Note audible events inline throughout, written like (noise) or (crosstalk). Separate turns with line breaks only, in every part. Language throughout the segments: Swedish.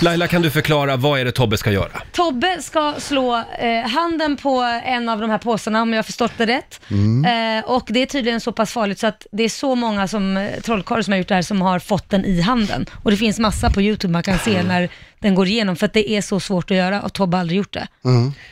Laila, kan du förklara vad är det Tobbe ska göra?
Tobbe ska slå eh, handen på en av de här påsarna om jag har förstått det rätt. Eh, och det är tydligen så pass farligt så att det är så många som eh, trollkarlar som har gjort det här som har fått den i handen. Och det finns massa på YouTube man kan se när den går igenom för att det är så svårt att göra och Tobbe har aldrig gjort det.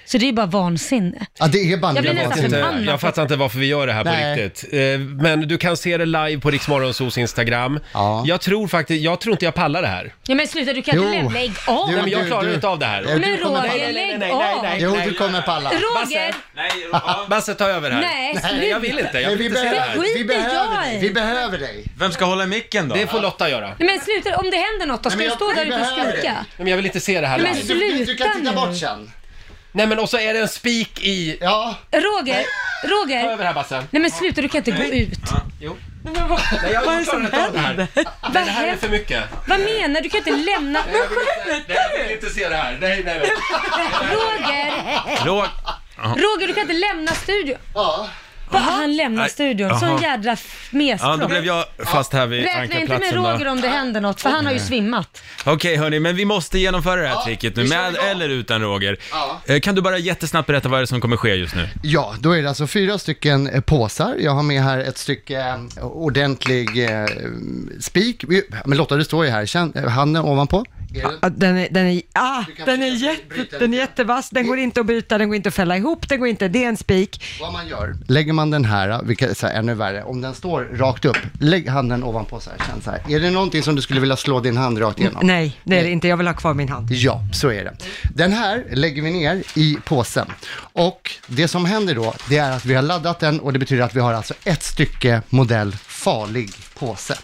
Så det är ju bara vansinne.
Ja, det är
Jag
banne
blir nästan
vansinne.
förbannad.
jag fattar inte varför vi gör det här
Nej.
på riktigt. Eh, Men du kan se det live på Riksmorgonsos Instagram.
Ja.
Jag tror faktiskt, jag tror inte jag pallar det här.
Ja men sluta, du kan
Jo.
inte lämna, lägg av!
Jo,
Nej, men jag
du-
klarar
du-
inte av det här.
Ja, du
Men
kommer
Roger,
palla.
lägg
nej,
av!
Jo,
nej,
du kommer
nej.
palla.
Roger!
Nej, ja.
Basse, ta över här.
Nej,
Nej, jag vill
sluta!
inte. Jag
Men
vill
vi
inte se det här.
behöver, vi
Skiter
behöver
jag
dig.
i.
Vi behöver dig.
Vem ska hålla i micken då?
Det får Lotta göra. Nej,
Nej, Men sluta, om det händer något då ska
Nej,
du
men
stå
jag-
där
vi
ute och
behöver
skrika.
Men jag vill inte se det här
Men
live.
Du, du, du kan
Sluta
titta
nu.
bort sen.
Nej, men och så är det en spik i...
Ja,
Roger,
Ta
Roger!
över här Basse.
Nej men sluta, du kan inte gå ut.
Jo. Nej, jag klarar inte av det här. Nej,
Vad,
det här är för mycket.
vad menar du? Du kan inte lämna...
Jag vill inte, nej, jag vill inte se det här. Nej, nej, nej.
Roger!
Klå...
Roger, du kan inte lämna studion.
ja.
Va, han lämnar
Nej,
studion. Sån
aha.
jädra f- mesprång.
Ja, då blev jag fast här vid
Räkna inte med
ankarplatsen
Roger
då.
om det händer något, för han har ju svimmat.
Okej hörni, men vi måste genomföra det här
Ja,
tricket
vi
nu,
kör
med
igång.
eller utan Roger.
Ja.
Eh, Kan du bara jättesnabbt berätta vad det är som kommer ske just nu?
Ja, då är det alltså fyra stycken eh, påsar. Jag har med här ett stycke eh, ordentlig eh, spik. Vi- Men Lotta, det står ju här. Känn eh, handen ovanpå. Är det-
Ja, Den är, den är, ah,
Du kan
den är,
försöka bryta
jätte, den är
lite.
jättevass, den går inte att bryta, den går inte att fälla ihop, den går inte, det är en spik.
Vad man gör, lägger man den här, eh, vilket är så här, ännu värre, om den står rakt upp, lägg handen ovanpå så här, känn så här. Är det någonting som du skulle vilja slå din hand rakt igenom?
Nej, det är det inte, jag vill ha kvar min hand.
Ja, så är det. Den här lägger vi ner i påsen. Och det som händer då, det är att vi har laddat den och det betyder att vi har alltså ett stycke modell farlig påse.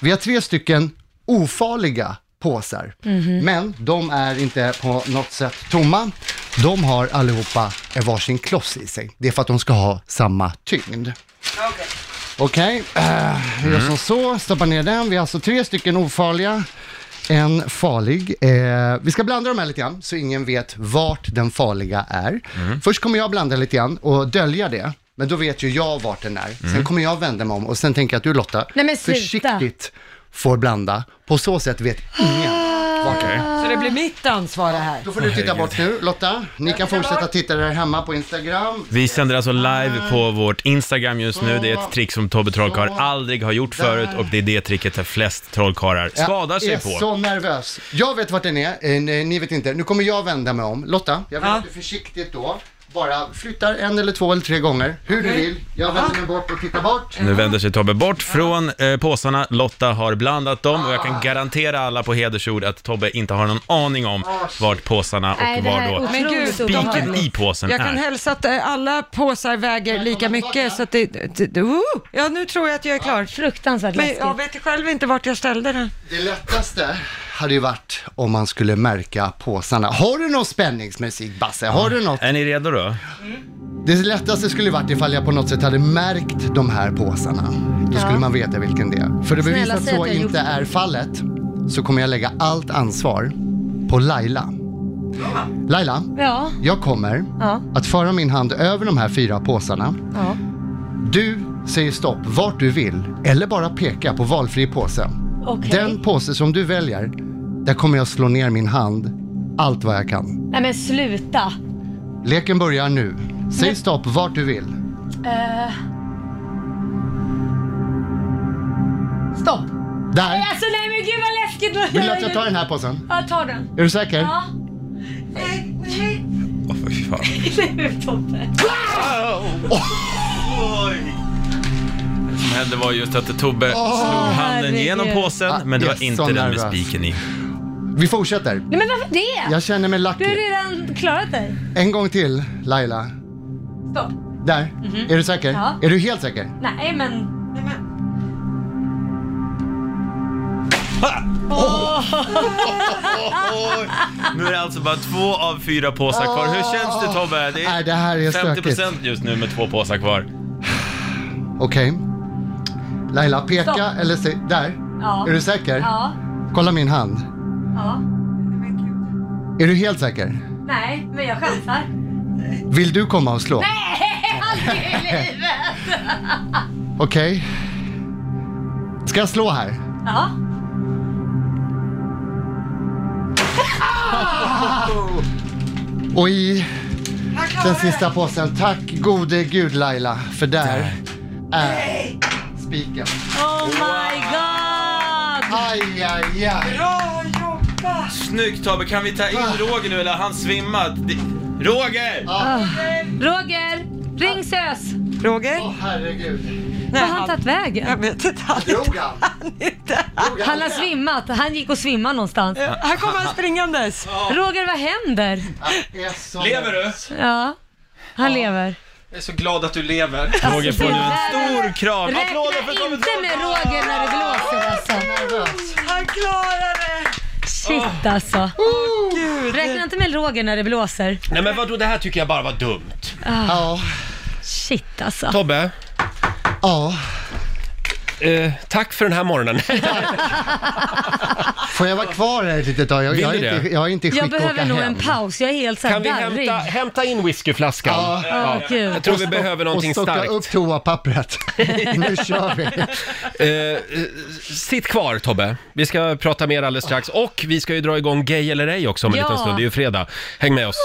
Vi har tre stycken ofarliga påsar, men de är inte på något sätt tomma. De har allihopa en varsin kloss i sig. Det är för att de ska ha samma tyngd. Okej, eh, vi gör som så, stoppar ner den. Vi har alltså tre stycken ofarliga, en farlig. Eh, vi ska blanda dem här lite grann, så ingen vet vart den farliga är. Först kommer jag blanda lite grann och dölja det, men då vet ju jag vart den är. Sen kommer jag vända mig om och sen tänker jag att du Lotta,
Nej, men sluta.
försiktigt får blanda. På så sätt vet ingen vart den är.
Så det blir mitt ansvar det här.
Då får du titta bort nu Lotta. Ni kan fortsätta titta där hemma på Instagram.
Vi sänder alltså live på vårt Instagram just nu. Det är ett trick som Tobbe Trollkarl aldrig har gjort förut och det är det tricket där flest trollkarlar skadar sig
Jag är
på.
så nervös. Jag vet vart den är, eh, nej, ni vet inte. Nu kommer jag vända mig om. Lotta, jag vill
Ja.
att du försiktigt då bara flyttar en eller två eller tre gånger, hur du vill. Jag vänder mig bort och tittar bort.
Nu vänder sig Tobbe bort från eh, påsarna, Lotta har blandat dem och jag kan garantera alla på hedersord att Tobbe inte har någon aning om vart påsarna
Nej,
och
det här
var
är
då
Men gud,
otroligt
de-
spiken i
obehagligt.
påsen
Jag kan
är.
hälsa att eh, alla påsar väger lika mycket så att det, det, det oh, ja nu tror jag att jag är klar.
Fruktansvärt
Men jag
läskigt.
vet själv inte vart jag ställde den.
Det lättaste hade ju varit om man skulle märka påsarna. Har du någon spänningsmusik Basse? Har du något?
Är ni redo då?
Det lättaste skulle ju varit ifall jag på något sätt hade märkt de här påsarna. Då skulle man veta vilken det är. För att bevisa
säg
att
att
så
jag har gjort
inte
det.
är fallet så kommer jag lägga allt ansvar på Laila. Laila,
Ja,
jag kommer
Ja.
att föra min hand över de här fyra påsarna.
ja.
Du säger stopp vart du vill eller bara peka på valfri påse.
Okej.
Den påse som du väljer, där kommer jag slå ner min hand allt vad jag kan.
Nej men sluta.
Leken börjar nu. Säg stopp vart du vill.
Eh. Stopp.
Där!
Alltså nej men gud vad läskigt.
Vill du att jag tar den här påsen?
Ja, ta den.
Är du säker?
Ja.
Åh, fy fan.
Nu Tobbe.
Det som hände var just att Tobbe slog handen
herregud.
genom
Ah,
påsen, men det
jag
var
är
inte
så
den
nervös.
med spiken i.
Vi fortsätter.
Nej men varför det?
Jag känner mig
Du har
lucky.
redan klarat dig.
En gång till, Laila.
Stopp. Mhm.
Där. Är du säker?
Ja.
Är du helt säker?
Nej men.
Nu är det alltså bara två av fyra påsar kvar. Hur känns det Tobbe? Det
Nej, det här är
50%
stökigt.
just nu med två påsar kvar.
Okej. Laila, peka
Stopp.
eller säg... Där.
Ja.
Är du säker?
Ja.
Kolla min hand.
Ja.
Är du helt säker?
Nej men jag chansar.
Vill du komma och slå?
(laughs) Aldrig i livet.
Okej. Ska jag slå här?
Ja.
Och i
Han
den
klarar
sista påsen, tack gode gud Laila, för där är spiken.
Oh my god!
Aj, aj, aj.
Bra jobbat!
Snyggt Tobbe, kan vi ta in
Ah.
Roger nu eller har han svimmat? Det- Roger!
Roger, ring SÖS!
Roger?
Åh herregud.
Nej,
Var har han tagit vägen?
Jag vet inte. Han är
Drog
(laughs)
han?
inte
Han har svimmat, han gick och svimmade någonstans.
Här
(laughs)
kommer han springandes.
Roger, vad händer?
Är så-
Lever du?
Ja, han lever.
Jag är så glad att du lever.
Roger får nu en stor kram. Applåder
Räkna
för Tobbe
inte
Troll.
med Roger när du blåser alltså.
Nervös.
Han klarar det!
Shit alltså.
Gud.
Räkna inte med Roger när det blåser.
Nej men vadå, det här tycker jag bara var dumt.
Ja,
Shit alltså.
Tobbe,
ja.
eh, tack för den här morgonen.
Får jag vara kvar här ett litet tag? Jag,
Vill
jag,
du
är,
det?
inte, jag är inte i skick
Jag
att åka
behöver nog en
hem.
paus, jag är helt såhär
Kan vi
darrig.
hämta, hämta in whiskyflaskan?
Ja.
Åh, gud.
Jag tror vi behöver
Och
någonting
stocka
starkt.
upp toapappret. nu kör vi.
Eh, eh, sitt kvar Tobbe, vi ska prata mer alldeles strax. Och vi ska ju dra igång Gay eller ej också om en
Ja.
liten stund, det är ju fredag. Häng med oss.